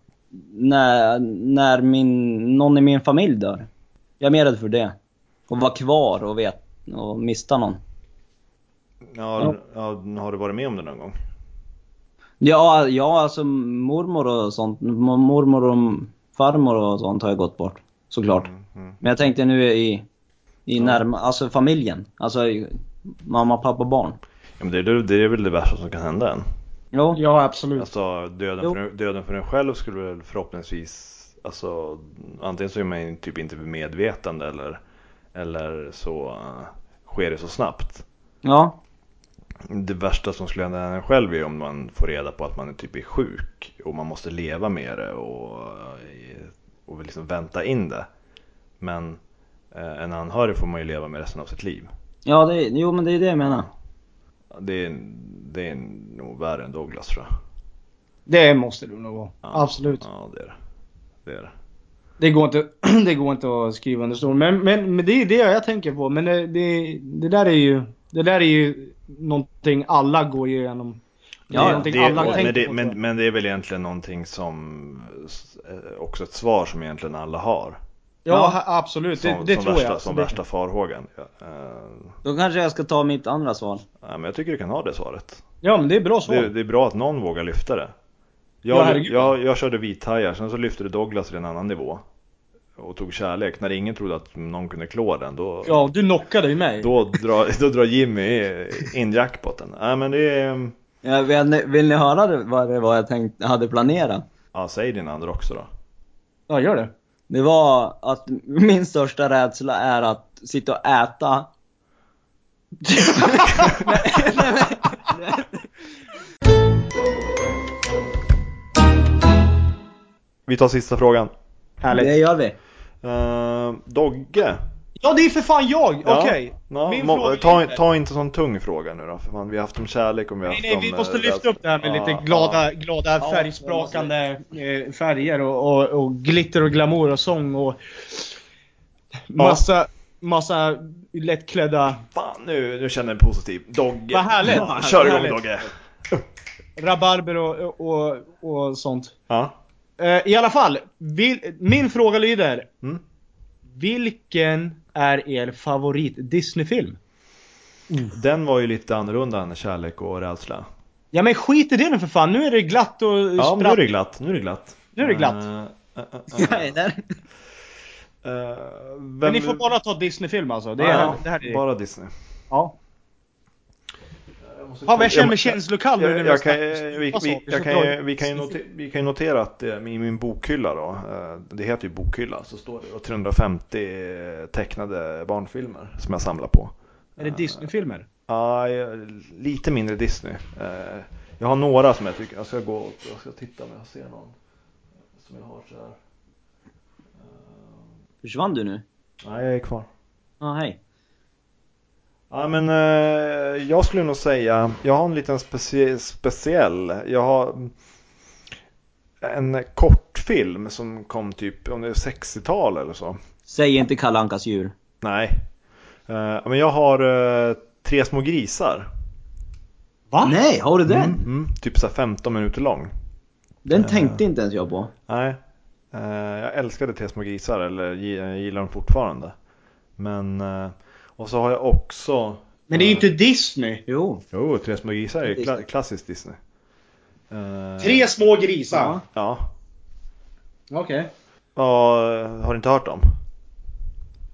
Speaker 1: när, när min, någon i min familj dör. Jag är mer rädd för det. Och vara kvar och, vet, och mista någon.
Speaker 3: Ja, ja, har du varit med om det någon gång?
Speaker 1: Ja, ja alltså mormor och sånt. m- Mormor och farmor och sånt har jag gått bort. Såklart.
Speaker 3: mm.
Speaker 1: Men jag tänkte nu i, i närma, alltså familjen. Alltså i, mamma, pappa, barn.
Speaker 3: Ja, men det, är- det är väl det värsta som kan hända en.
Speaker 1: Jo.
Speaker 5: Ja, absolut.
Speaker 3: Alltså döden
Speaker 1: Jo.
Speaker 3: för, döden för en själv skulle väl förhoppningsvis Alltså antingen så är man ju typ inte medvetande eller Eller så eh, sker det så snabbt
Speaker 1: Ja.
Speaker 3: Det värsta som skulle hända en själv är om man får reda på att man är typ är sjuk och man måste leva med det och, och liksom vänta in det Men eh, en anhörig får man ju leva med resten av sitt liv
Speaker 1: Ja, det, jo men det är det jag menar.
Speaker 3: Det är, det är nog värre än Douglas tror jag
Speaker 5: Det måste du nog vara.
Speaker 3: Ja.
Speaker 5: Absolut.
Speaker 3: Ja det är det, det, är det.
Speaker 5: Det går inte, det går inte att skriva under stol. Men, men, men det är det jag tänker på. Men det, det, det där är ju, det där är ju någonting alla går igenom.
Speaker 1: Ja,
Speaker 5: det
Speaker 1: ja,
Speaker 5: är någonting
Speaker 3: det,
Speaker 5: alla
Speaker 3: och- men,
Speaker 5: tänker
Speaker 3: det,
Speaker 5: på.
Speaker 3: men, men det är väl egentligen någonting som eh, också ett svar som egentligen alla har.
Speaker 5: ja, ha- absolut.
Speaker 3: Som,
Speaker 5: Det, det
Speaker 3: som
Speaker 5: tror
Speaker 3: värsta,
Speaker 5: jag.
Speaker 3: som
Speaker 5: Det-
Speaker 3: värsta farhågan. Ja, eh,
Speaker 1: Då kanske jag ska ta mitt andra svar.
Speaker 3: nej, men jag tycker du kan ha det svaret.
Speaker 5: Ja, men det är bra svar.
Speaker 3: Det, det är bra att någon vågar lyfta det.
Speaker 5: Ja,
Speaker 3: Jag,
Speaker 5: herregud.
Speaker 3: jag, jag körde vithajar, sen så lyfte det Douglas till en annan nivå. Och tog kärlek. När ingen trodde att någon kunde klå den, då,
Speaker 5: Ja, du knockade ju mig.
Speaker 3: då, drar, då drar Jimmy in jackpoten. Nej men det är...
Speaker 1: Ja, vill, ni, vill ni höra det- vad det var jag tänkte, hade planerat?
Speaker 3: Ja, säg din andra också då.
Speaker 5: Ja, gör det.
Speaker 1: Det var att min största rädsla är att sitta och äta.
Speaker 3: Vi tar sista frågan.
Speaker 5: Härligt.
Speaker 1: Det gör vi.
Speaker 3: Eh, Dogge.
Speaker 5: Ja, det är för fan jag!
Speaker 3: Ja.
Speaker 5: Okej.
Speaker 3: Ja,
Speaker 5: Min
Speaker 3: må-
Speaker 5: fråga
Speaker 3: ta,
Speaker 5: är-
Speaker 3: ta inte sån tung fråga nu då, för fan, vi har haft om kärlek och vi har
Speaker 5: Nej,
Speaker 3: haft
Speaker 5: nej,
Speaker 3: om...
Speaker 5: vi
Speaker 3: eh,
Speaker 5: måste lyfta
Speaker 3: rädsla.
Speaker 5: upp det här med
Speaker 3: Ja,
Speaker 5: lite glada,
Speaker 3: ja.
Speaker 5: glada färgsprakande eh, färger och, och, och glitter och glamour och sång och massa, massa lättklädda...
Speaker 3: Fan, nu, nu känner jag mig positiv. Dogge.
Speaker 5: Vad härligt!
Speaker 3: Ja, Kör igång
Speaker 5: Härligt.
Speaker 3: Dogge!
Speaker 5: Rabarber och, och, och sånt.
Speaker 3: Ja.
Speaker 5: Eh, I alla fall, vil, min fråga lyder.
Speaker 3: Mm.
Speaker 5: Vilken är er favorit Disney-film?
Speaker 3: Den var ju lite annorlunda än kärlek och rädsla.
Speaker 5: Ja men skit i det nu för fan, nu är det glatt och
Speaker 3: Ja, men nu är
Speaker 5: spratt.
Speaker 3: det glatt. Nu är det glatt.
Speaker 5: Nu är det glatt.
Speaker 3: Eh, eh, eh,
Speaker 1: Nej, där.
Speaker 3: eh, vem-
Speaker 5: Men ni får bara ta Disney-film alltså. Det, är,
Speaker 3: Ja,
Speaker 5: det här är...
Speaker 3: Bara Disney.
Speaker 5: Ja.
Speaker 3: Jag måste-
Speaker 8: Fan vad jag känner mig
Speaker 3: men-
Speaker 8: känslokall nu när
Speaker 3: jag,
Speaker 8: vi har
Speaker 3: jag kan,
Speaker 8: snackat om
Speaker 3: vi,
Speaker 8: sådana
Speaker 3: vi,
Speaker 8: saker
Speaker 3: jag
Speaker 8: som
Speaker 3: kan,
Speaker 8: drar
Speaker 3: ju-
Speaker 8: ut.
Speaker 3: vi, kan ju notera, vi kan ju notera att eh, i min bokhylla då, eh, det heter ju bokhylla, så står det då 350 tecknade barnfilmer som jag samlar på.
Speaker 5: Är det Disney-filmer?
Speaker 3: Ja, jag- lite mindre Disney. Eh, Jag har några som jag tycker, jag ska gå och jag ska titta om jag ser någon som jag har så här.
Speaker 1: Försvann du nu?
Speaker 3: Nej, jag är kvar.
Speaker 1: Ja, hej.
Speaker 3: Ja men eh, jag skulle nog säga, jag har en liten specie speciell, jag har en kortfilm som kom typ, om det är 60-tal eller så.
Speaker 1: Säg inte Kalle Ankas djur.
Speaker 3: Nej. Eh, men jag har eh, Tre små grisar.
Speaker 5: Va?
Speaker 1: Nej, har du den?
Speaker 3: Mm, typ så här 15 minuter lång.
Speaker 1: Den tänkte inte ens jag på.
Speaker 3: Nej. Eh, jag älskade Tre små grisar, eller gi- jag gillar dem fortfarande. Men, eh, och så har jag också eh,
Speaker 5: Men det är ju inte Disney!
Speaker 1: Jo.
Speaker 3: Jo, Tre små grisar är ju kla-
Speaker 1: Disney.
Speaker 3: klassiskt Disney. Eh,
Speaker 8: Tre små grisar.
Speaker 3: Ja.
Speaker 5: Okej.
Speaker 3: Ja, har du inte hört dem?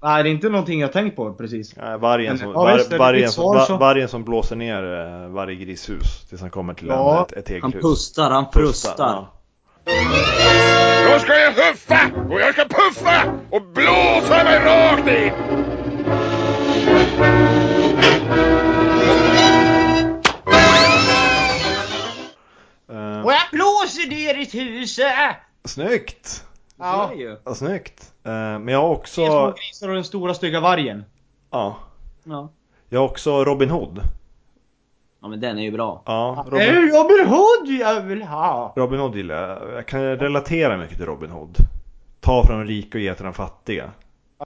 Speaker 5: Nej, det är inte någonting jag tänkt på precis.
Speaker 3: Nej, Eh, Vargen
Speaker 5: Men-
Speaker 3: som,
Speaker 5: ja, visst, det
Speaker 3: var,
Speaker 5: är
Speaker 3: vargen,
Speaker 5: mitt
Speaker 3: som,
Speaker 5: svar,
Speaker 3: var,
Speaker 5: så.
Speaker 3: vargen som blåser ner eh, varje grishus tills han kommer till en,
Speaker 5: Ja,
Speaker 3: ett, ett
Speaker 1: Han
Speaker 3: eget hus.
Speaker 1: pustar, han frustar.
Speaker 3: ja.
Speaker 9: Då ska jag huffa och jag ska puffa och blåsa mig rakt in.
Speaker 3: Eh,
Speaker 8: Och jag blåser ner i huset!
Speaker 5: äh.
Speaker 3: snyggt!
Speaker 8: Ja.
Speaker 1: ju.
Speaker 3: Ja, snyggt! Eh, men jag har
Speaker 5: Tre små
Speaker 3: också...
Speaker 5: grisar och den stora stygga vargen.
Speaker 3: Ja.
Speaker 1: Ja.
Speaker 3: Jag har också Robin Hood.
Speaker 1: Ja men den är ju bra.
Speaker 3: Ja,
Speaker 5: Är
Speaker 3: Robin,
Speaker 5: det Robin Hood jag vill ha?
Speaker 3: Robin Hood gillar jag. Jag kan relatera mycket till Robin Hood. Ta från de rika och ge till de fattiga.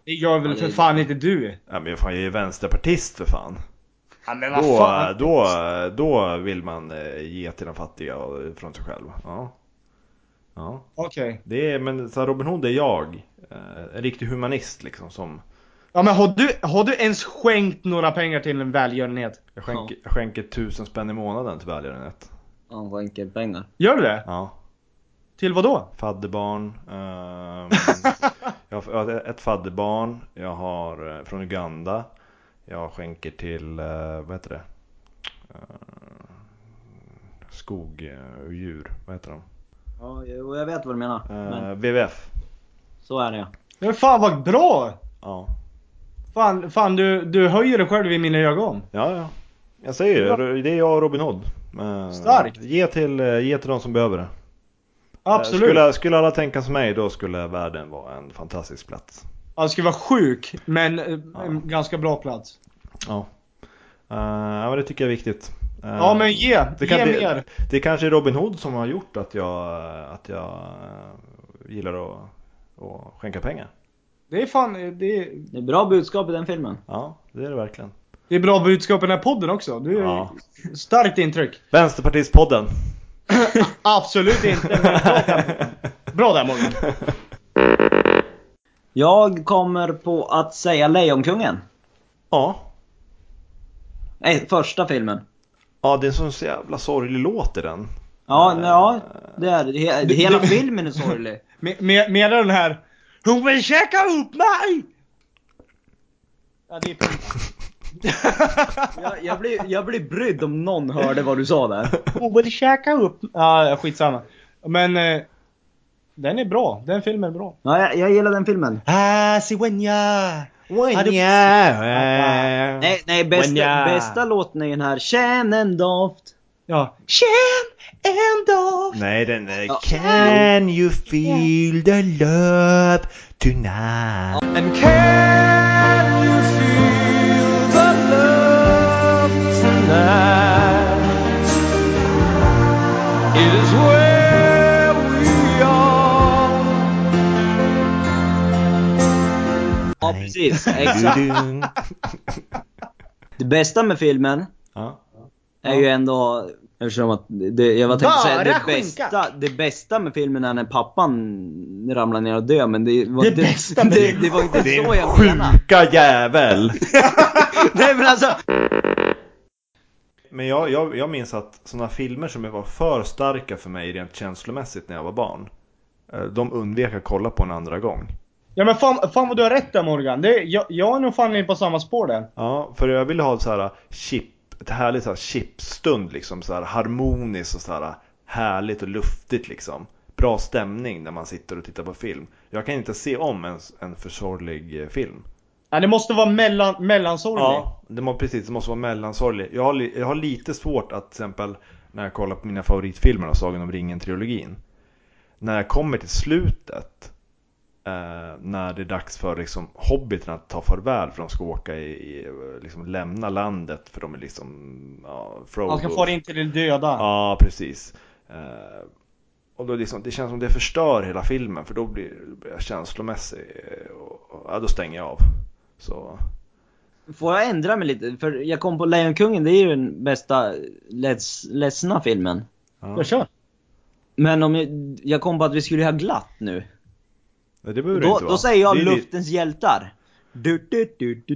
Speaker 5: Det gör väl
Speaker 1: Ja, det-
Speaker 5: för fan inte du?
Speaker 3: Ja, men fan, jag är ju vänsterpartist för fan.
Speaker 8: Ja, men vad
Speaker 3: Då,
Speaker 8: fan.
Speaker 3: då, då vill man eh, ge till de fattiga och från sig själv. Ja. Ja.
Speaker 5: Okej.
Speaker 3: Det är, men så här, Robin Hood är jag. Eh, En riktig humanist liksom som
Speaker 5: Ja men har du, har du ens skänkt några pengar till en välgörenhet?
Speaker 3: jag skänker, jag skänker tusen spänn i månaden till välgörenhet.
Speaker 1: Han får enkelt pengar.
Speaker 5: Gör du det?
Speaker 3: Ja.
Speaker 5: Till vad då?
Speaker 3: Fadderbarn. ehm, jag har jag har ett fadderbarn. Jag har eh, från Uganda. Jag skänker till, eh, vad heter det? Eh, Skog eh, och djur, vad heter de?
Speaker 1: Ja, jo, jag vet vad du menar.
Speaker 3: Eh,
Speaker 1: Men
Speaker 3: WWF.
Speaker 1: så är det ja.
Speaker 5: Men fan vad bra!
Speaker 3: Ja.
Speaker 5: Fan, fan du, du höjer dig själv i mina ögon.
Speaker 3: Ja, ja. Jag säger ju, det är jag och Robin Hood. Eh,
Speaker 5: Starkt.
Speaker 3: Ge till, eh, ge till de som behöver det.
Speaker 5: Absolut.
Speaker 3: Eh, Skulle, skulle alla tänka som mig, då skulle världen vara en fantastisk plats.
Speaker 5: Ja, det skulle vara sjuk, men eh,
Speaker 3: Ja.
Speaker 5: en ganska bra plats.
Speaker 3: Ja. Eh, Ja, men det tycker jag är viktigt. Eh,
Speaker 5: Ja men ge,
Speaker 3: det
Speaker 5: ge
Speaker 3: kan- det-
Speaker 5: mer!
Speaker 3: Det kanske är Robin Hood som har gjort att jag, att jag eh, gillar att, att skänka pengar.
Speaker 5: Det är fan, eh, det är,
Speaker 1: Det är bra budskap i den filmen.
Speaker 3: Ja, det är det verkligen.
Speaker 5: det är bra budskap i den här podden också. Du är
Speaker 3: Ja.
Speaker 5: starkt intryck.
Speaker 3: Vänsterpartistpodden!
Speaker 5: Absolut inte, men bra där. Bra där Morgan.
Speaker 1: Jag kommer på att säga Lejonkungen.
Speaker 3: Ja.
Speaker 1: Nej, första filmen.
Speaker 3: ja, det är en sån så jävla sorglig låt i den.
Speaker 1: Ja, ja det är det. He- Hela filmen är sorglig.
Speaker 5: Me- me- Menar den här Hon vill käka upp mig! Ja det är
Speaker 1: Jag, jag, blir, jag blir brydd om någon hörde vad du sa där.
Speaker 5: Hon vill käka upp Ja skitsamma. Men eh, den är bra, den filmen är bra.
Speaker 1: Ja, jag, jag gillar den filmen.
Speaker 5: Ah, si when ya. When
Speaker 1: Nej, nej bästa,
Speaker 5: Wenja.
Speaker 1: bästa låten är den här Känn en doft.
Speaker 5: Ja. Känn ändå.
Speaker 3: Nej, den är...
Speaker 1: Ja.
Speaker 3: Can you feel the love tonight?
Speaker 1: Ja, precis. Exakt.
Speaker 3: Du-dun.
Speaker 1: Det bästa med filmen
Speaker 3: ja.
Speaker 1: är ju ändå, eftersom att det, jag var tänkte säga det
Speaker 5: Bara skinka.
Speaker 1: bästa, det bästa med filmen är när pappan ramlar ner och dör men det var
Speaker 5: Det
Speaker 1: inte,
Speaker 5: bästa med
Speaker 1: det, det var inte så
Speaker 3: Din
Speaker 1: jag menade.
Speaker 3: sjuka jävel!
Speaker 1: Nej men alltså!
Speaker 3: Men jag, jag, jag minns att sådana filmer som var för starka för mig rent känslomässigt när jag var barn. eh, De undvek att kolla på en andra gång.
Speaker 5: Ja men fan, fan vad du har rätt där Morgan. Det, jag, jag är nog fan inne på samma spår där.
Speaker 3: Ja, för jag ville ha så här chip ett härligt så här chipsstund liksom, så här harmoniskt och så här härligt och luftigt liksom. Bra stämning när man sitter och tittar på film. Jag kan inte se om en, en för sorglig eh, film.
Speaker 5: Ja, det måste vara mellan, mellansorglig.
Speaker 3: Ja, det må, precis. Det måste vara mellansorglig. Jag har, li- jag har lite svårt att till exempel när jag kollar på mina favoritfilmer av Sagan om ringen-trilogin. När jag kommer till slutet, eh, när det är dags för liksom, hobbiten att ta farväl för de ska åka i, i liksom, lämna landet för de är liksom, ja, Frodo.
Speaker 5: Han ska fara in till det döda.
Speaker 3: Ja, precis. Eh, och då liksom, det känns som det förstör hela filmen för då blir blir jag känslomässig. eh, Och, och, ja, då stänger jag av. Så,
Speaker 1: Får jag ändra mig lite? För jag kom på Lejonkungen, det är ju den bästa leds, ledsna filmen.
Speaker 3: ja.
Speaker 5: Jag kör.
Speaker 1: Men om jag, jag kom på att vi skulle ha glatt nu.
Speaker 3: Nej, det behöver det
Speaker 1: Då,
Speaker 3: inte vara.
Speaker 1: då säger jag
Speaker 3: Det är li-
Speaker 1: Luftens hjältar. Du, du, du, du,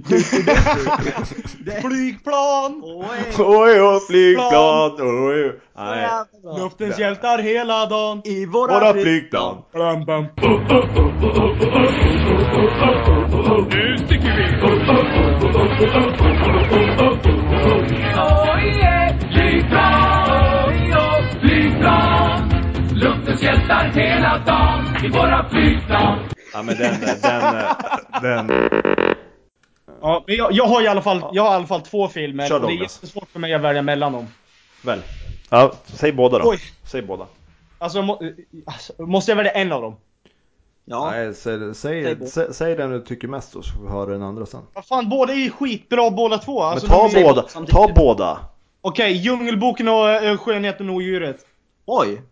Speaker 1: du, du, du.
Speaker 5: Flygplan!
Speaker 1: Oj,
Speaker 3: Oj, oj, flygplan! Oj, oj. Nej,
Speaker 5: Luftens hjältar hela dagen.
Speaker 1: I våra,
Speaker 3: våra flygplan!
Speaker 5: Bam, bam.
Speaker 9: Nu sticker vi!
Speaker 3: Ja, men den, den, den, den.
Speaker 5: Ja, men jag, jag, har i alla fall, jag har i alla fall två filmer.
Speaker 3: Kör
Speaker 5: och det är
Speaker 3: Douglas.
Speaker 5: jättesvårt för mig att välja mellan dem.
Speaker 3: Väl. Ja, säg båda då.
Speaker 5: Oj.
Speaker 3: Säg båda.
Speaker 5: Alltså, må, alltså, måste jag välja en av dem?
Speaker 1: Ja.
Speaker 3: Nej, säg,
Speaker 1: Säg
Speaker 3: säg,
Speaker 1: båda.
Speaker 3: säg, säg den du tycker mest då så får vi höra den andra sen.
Speaker 5: Vad fan, båda är ju skitbra båda två. Alltså,
Speaker 3: men ta
Speaker 5: de är-
Speaker 3: båda!
Speaker 1: samtidigt.
Speaker 3: Ta båda!
Speaker 5: Okej, Djungelboken och äh, Skönheten och odjuret.
Speaker 1: Oj!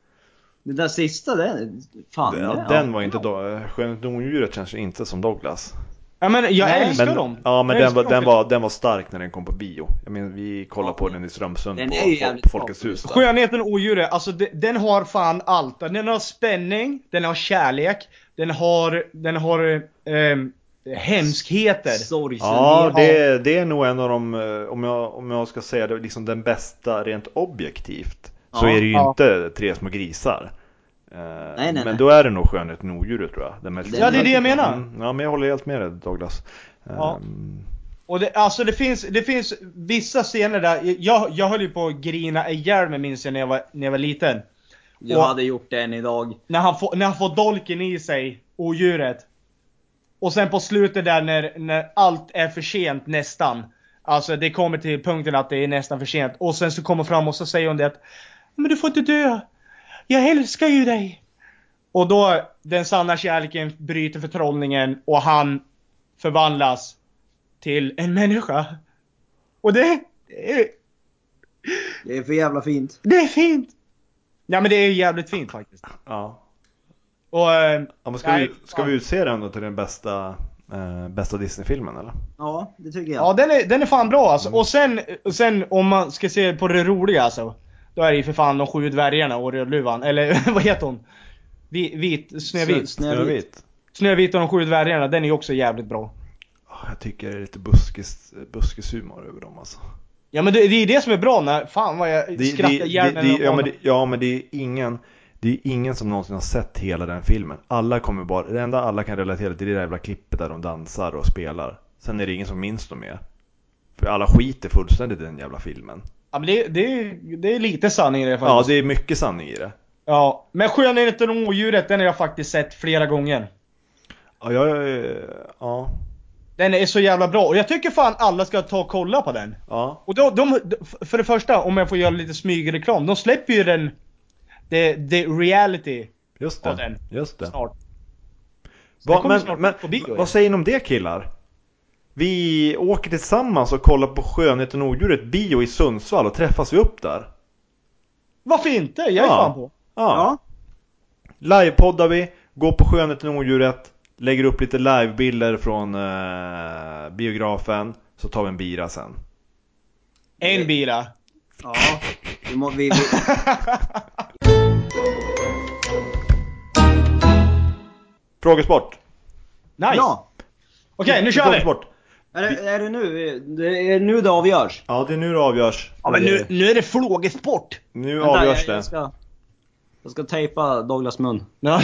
Speaker 1: Den där sista, den... Fan.
Speaker 3: Den,
Speaker 1: ja.
Speaker 3: den var inte då. Skönhet och odjuret känns inte som Douglas.
Speaker 5: Ja, men jag
Speaker 1: Nej.
Speaker 5: älskar
Speaker 3: Men,
Speaker 5: dem.
Speaker 3: ja, men
Speaker 5: Jag
Speaker 3: den var,
Speaker 5: älskar
Speaker 3: den,
Speaker 5: dem.
Speaker 3: var, den var stark när den kom på bio. Jag menar, vi kollade på den i Strömsund
Speaker 1: Den
Speaker 3: på,
Speaker 1: är ju
Speaker 3: på,
Speaker 1: jävligt
Speaker 3: på Folkets
Speaker 1: bra.
Speaker 3: hus. där.
Speaker 5: Skönheten och odjuret, alltså de, den har fan allt. Den har spänning, den har kärlek, den har, den har ehm, hemskheter.
Speaker 1: Sorgsen.
Speaker 3: Ja, det, det är nog en av de, eh, om jag, om jag ska säga det, liksom den bästa rent objektivt. Så
Speaker 1: Ja,
Speaker 3: är det ju
Speaker 5: ja.
Speaker 3: inte Tre små grisar. Eh,
Speaker 1: nej,
Speaker 3: men
Speaker 1: nej.
Speaker 3: då är det nog Skönheten och odjuret tror jag. Den mest
Speaker 1: Ja,
Speaker 5: Ja, det är det jag menar.
Speaker 3: Mm, ja, men jag håller helt med dig Douglas.
Speaker 5: Ja.
Speaker 3: Ehm,
Speaker 5: Och det, alltså det finns, det finns vissa scener där, jag, jag höll ju på att grina ihjäl mig minns jag när jag var, när jag var liten.
Speaker 1: Jag hade gjort den idag.
Speaker 5: När han, får, när han får dolken i sig, odjuret. Och sen på slutet där när, när allt är för sent nästan. Alltså det kommer till punkten att det är nästan för sent. Och sen så kommer fram och så säger hon det att Men du får inte dö! Jag älskar ju dig! Och då, den sanna kärleken bryter förtrollningen och han förvandlas till en människa. Och det, det är,
Speaker 1: Det är för jävla fint.
Speaker 5: det är fint! Ja men det är jävligt fint faktiskt.
Speaker 3: ja.
Speaker 5: Och, eh,
Speaker 3: ja men ska,
Speaker 5: Nej,
Speaker 3: vi, ska vi utse den då till den bästa, eh, bästa Disney-filmen eller?
Speaker 1: Ja, det tycker jag.
Speaker 5: Ja, den är, den är fan bra alltså.
Speaker 3: Mm.
Speaker 5: Och sen, sen om man ska se på det roliga alltså. Då är det ju för fan de sju dvärgarna och Rödluvan. Eller vad heter hon? Vi- Vit, Snövit.
Speaker 1: Snö- Snövit.
Speaker 5: Snövit och de sju dvärgarna, den är ju också jävligt bra.
Speaker 3: Ah, Jag tycker det är lite buskis, buskishumor över dem alltså.
Speaker 5: Ja men det, det är det som är bra när, fan vad jag
Speaker 3: Det,
Speaker 5: skrattar
Speaker 3: det,
Speaker 5: ihjäl mig när
Speaker 3: det, det,
Speaker 5: jag
Speaker 3: ja,
Speaker 5: var-
Speaker 3: men det, ja men det är ingen Det är ingen som någonsin har sett hela den filmen Alla kommer bara, det enda alla kan relatera till det där jävla klippet där de dansar och spelar Sen är det ingen som minns dem mer För alla skiter fullständigt i den jävla filmen
Speaker 5: Ja, men det, det, är- det är lite sanning i det
Speaker 3: Ja alltså-
Speaker 5: faktiskt.
Speaker 3: det är mycket sanning i det
Speaker 5: Ja, men Skönheten och odjuret, den har jag faktiskt sett flera gånger.
Speaker 3: Ja, jag, ja,
Speaker 5: Den är så jävla bra och jag tycker fan alla ska ta och kolla på den.
Speaker 3: ja,
Speaker 5: Och då, de, för det första, om jag får göra lite smygreklam, de släpper ju den, the, the reality
Speaker 3: just
Speaker 5: Ja,
Speaker 3: det,
Speaker 5: den.
Speaker 3: just det
Speaker 5: snart. Så den
Speaker 3: Va,
Speaker 5: kommer
Speaker 3: men,
Speaker 5: snart
Speaker 3: men
Speaker 5: på bio igen.
Speaker 3: vad säger ni om det killar? Vi åker tillsammans och kollar på Skönheten och odjuret bio i Sundsvall och träffas vi upp där?
Speaker 5: Varför inte? Jag är
Speaker 3: Ja.
Speaker 5: fan på.
Speaker 1: Ja.
Speaker 3: Livepoddar vi, går på Skönheten och odjuret, lägger upp lite livebilder från eh, biografen, så tar vi en bira sen.
Speaker 5: En bira.
Speaker 1: Ja. Vi må, vi, vi,
Speaker 3: Frågesport!
Speaker 5: Nice!
Speaker 1: ja.
Speaker 5: Okej, nu kör vi!
Speaker 3: Frågesport!
Speaker 1: Är, det- är det nu vi- det är nu det avgörs?
Speaker 3: Ja, det är nu det avgörs.
Speaker 5: Ja, men nu, nu är det frågesport!
Speaker 3: Nu
Speaker 1: Vänta,
Speaker 3: avgörs
Speaker 1: jag,
Speaker 3: det.
Speaker 1: jag ska, jag ska tejpa Douglas mun.
Speaker 5: Ja.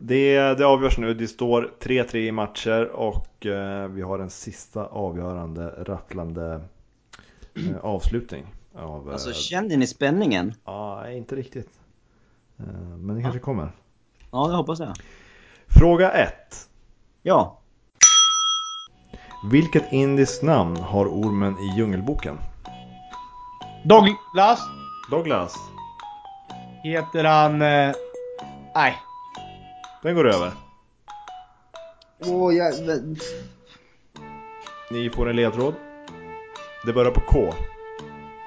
Speaker 3: Det, det avgörs nu. Det står 3-3 i matcher och eh, vi har en sista avgörande rattlande eh, avslutning. Av, eh,
Speaker 1: Alltså känner ni spänningen?
Speaker 3: ja, inte riktigt. Eh, men det
Speaker 5: Ah.
Speaker 3: kanske kommer.
Speaker 1: Ja, det hoppas jag.
Speaker 3: Fråga 1.
Speaker 1: Ja.
Speaker 3: Vilket indiskt namn har ormen i Djungelboken?
Speaker 5: Douglas
Speaker 3: Douglas.
Speaker 5: heter han... Eh, nej.
Speaker 3: Den går över.
Speaker 1: Åh, jag...
Speaker 3: Ni får en ledtråd. Det börjar på K.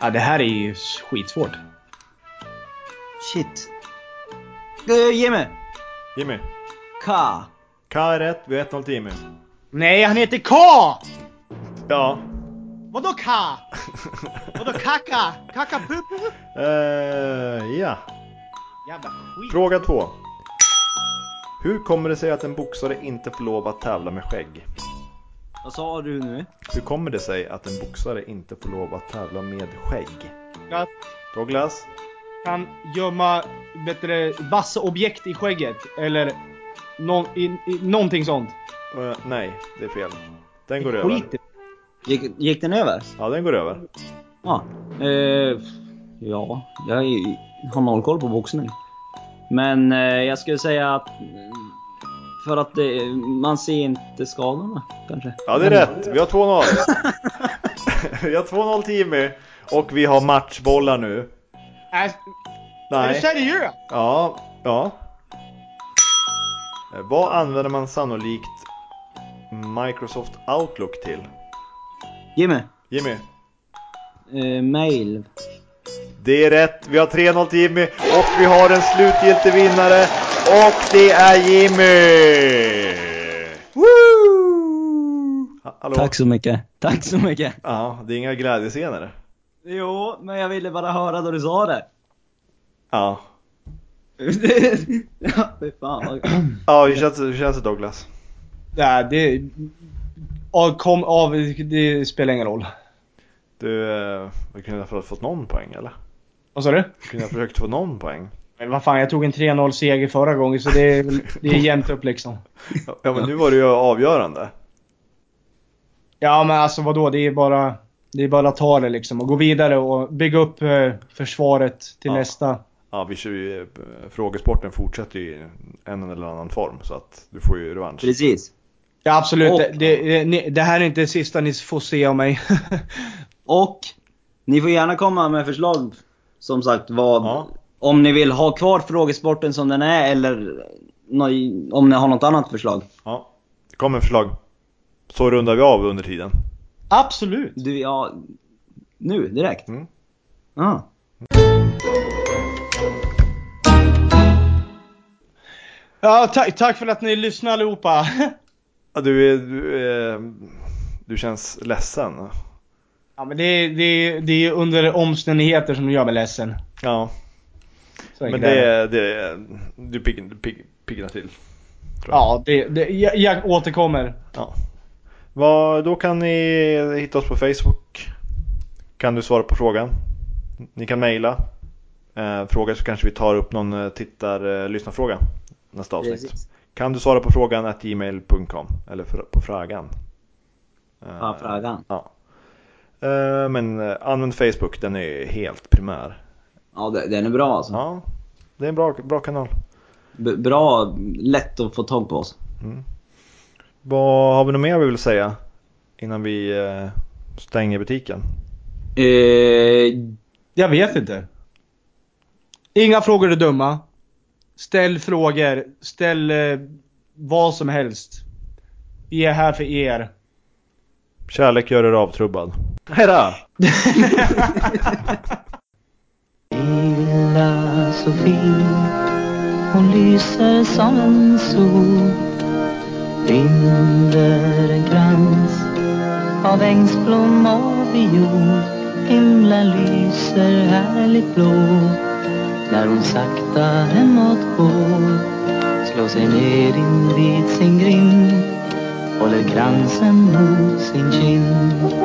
Speaker 5: Ja, det här är ju skitsvårt.
Speaker 1: Shit. Eh, Jimmy!
Speaker 3: Jimmy.
Speaker 1: K.
Speaker 3: K är rätt. Vi har 1-0 till Jimmy.
Speaker 5: Nej, han heter K!
Speaker 3: Ja.
Speaker 5: Vadå K? Vadå Kaka? Kakapup?
Speaker 3: Eh, ja.
Speaker 5: Jävla skit.
Speaker 3: Fråga 2. Hur kommer det sig att en boxare inte får lov att tävla med skägg?
Speaker 1: Vad sa du nu?
Speaker 3: Hur kommer det sig att en boxare inte får lov att tävla med skägg?
Speaker 5: Jag
Speaker 3: Douglas?
Speaker 5: kan gömma bättre vassa objekt i skägget. Eller nån i, i, någonting sånt.
Speaker 3: Eh, nej, det är fel. Den går över.
Speaker 5: Skit i-
Speaker 1: Gick, gick den över?
Speaker 3: Ja, den går över.
Speaker 1: Ja. Eh, ja, jag är, har noll koll på boxning. Men eh, jag skulle säga att... eh, För att det, man ser inte skadorna, kanske.
Speaker 3: Ja, det är rätt. Vi har 2-0. vi har 2-0 till Jimmy. Och vi har matchbollar nu.
Speaker 5: Äh, är du
Speaker 3: Nej.
Speaker 5: seriös?
Speaker 3: Ja, ja. Eh, Vad använder man sannolikt Microsoft Outlook till?
Speaker 1: Jimmy!
Speaker 3: Jimmy?
Speaker 1: Eh, mail.
Speaker 3: Det är rätt. Vi har 3-0 till Jimmy och vi har en slutgiltig vinnare och det är Jimmy! Woo! Ha- Hallå?
Speaker 1: Tack så mycket. Tack så mycket.
Speaker 3: Ja, det är inga glädjescener.
Speaker 1: Jo, men jag ville bara höra då du sa det.
Speaker 3: Ja.
Speaker 1: ja, fy fan vad...
Speaker 3: Ja, hur känns, hur känns det Douglas?
Speaker 5: Nej, det... Av, kom, av, det spelar ingen roll.
Speaker 3: Du, eh, vi kunde ha fått någon poäng eller?
Speaker 5: Vad sa du?
Speaker 3: Vi kunde ha försökt få någon poäng.
Speaker 5: Men vad fan, jag tog en 3-0 seger förra gången så det är, det är jämnt upp liksom.
Speaker 3: Ja, men nu var det ju avgörande.
Speaker 5: Ja men alltså vadå, det är bara... Det är bara att ta det liksom och gå vidare och bygga upp eh, försvaret till
Speaker 3: Ja.
Speaker 5: nästa.
Speaker 3: Ja, vi kör ju, eh, frågesporten fortsätter ju i en eller annan form så att du får ju revansch.
Speaker 1: Precis.
Speaker 5: Ja absolut,
Speaker 1: Och-
Speaker 5: det, det, ni- det här är inte det sista ni får se av mig.
Speaker 1: Och ni får gärna komma med förslag, som sagt, vad...
Speaker 3: Ja.
Speaker 1: Om ni vill ha kvar frågesporten som den är eller nå- om ni har något annat förslag.
Speaker 3: Ja, det kommer förslag. Så rundar vi av under tiden.
Speaker 5: absolut!
Speaker 1: Du, ja... Nu, direkt?
Speaker 3: Mm.
Speaker 1: Ah.
Speaker 5: Ja, tack, tack för att ni lyssnade allihopa.
Speaker 3: Ja, du, är, du, är, du känns ledsen.
Speaker 5: Ja men det, är- det, är- det är under omständigheter som gör mig ledsen.
Speaker 3: Ja,
Speaker 5: Så
Speaker 3: men
Speaker 5: enkelt är
Speaker 3: det, det du pigg- du pigg- piggnar till.
Speaker 5: Ja, det, det, jag, jag återkommer.
Speaker 3: Ja. Vad, då kan ni hitta oss på Facebook. Kan du svara på frågan. Ni kan mejla. Eh, fråga så kanske vi tar upp någon eh, tittar eh, lyssnarfråga nästa avsnitt.
Speaker 1: Precis.
Speaker 3: Kan du svara på frågan att gmail.com eller fr- på frågan. Eh,
Speaker 1: Ja, frågan.
Speaker 3: Ja. Eh, Men eh, använd Facebook, den är helt
Speaker 1: Mm.
Speaker 3: primär.
Speaker 1: Ja, det- den är bra alltså.
Speaker 3: Ja, det är en bra, bra kanal.
Speaker 1: B- bra, lätt att få tag på oss.
Speaker 3: Vad har vi något mer vi vill säga innan vi eh, stänger butiken?
Speaker 1: Eh,
Speaker 5: Jag vet inte. Inga frågor är dumma. Ställ frågor. Ställ eh, vad som helst. Vi är här för er.
Speaker 3: Kärlek gör er avtrubbad. Hejdå!
Speaker 6: Lilla Sofie, hon lyser som en sol Binder en krans av ängsblom och viol Himlen lyser härligt blå när hon sakta hemåt går Slår sig ner invid sin grind håller kransen mot sin kind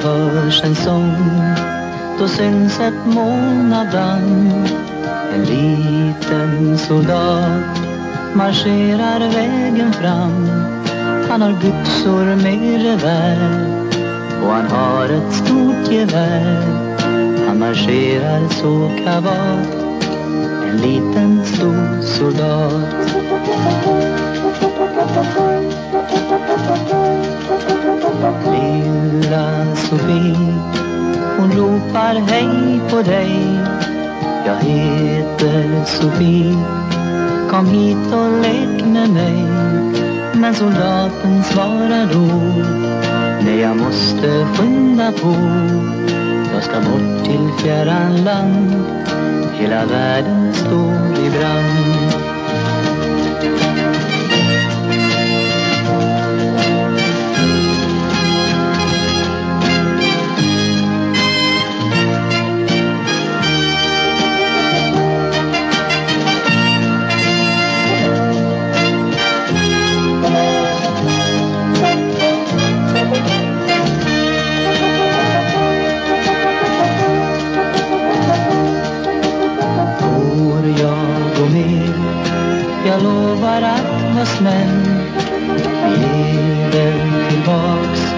Speaker 6: Då hörs en sång, då syns ett moln av damm En liten soldat marscherar vägen fram Han har byxor med revär och han har ett stort gevär Han marscherar så kavat En liten stor soldat Lilla Sofie hon ropar hej på dig Jag heter Sofie Kom hit och lek med mig Men soldaten svarar då Nej jag måste skynda på Jag ska bort till fjärran land Hela världen står i brand Får jag gå med? Jag lovar att vara snäll Vi lever tillbaks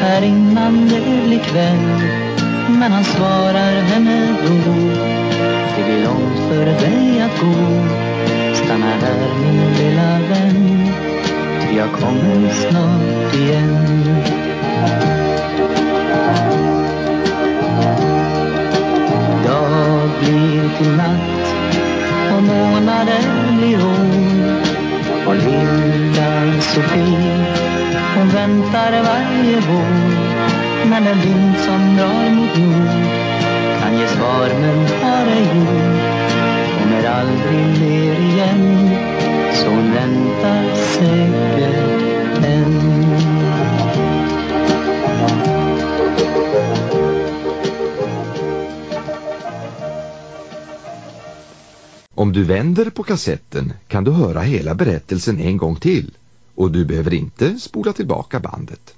Speaker 6: här innan det blir kväll Men han svarar henne då Det blir långt för dig att gå Stanna här min lilla vän Ty jag kommer snart igen Dag blir till natt och månader blir år Och lilla Sofie hon väntar varje vår När den vind som drar mot nord kan ge svar men har ej ord Kommer aldrig mer igen så hon väntar säkert än
Speaker 4: Om du vänder på kassetten kan du höra hela berättelsen en gång till och du behöver inte spola tillbaka bandet.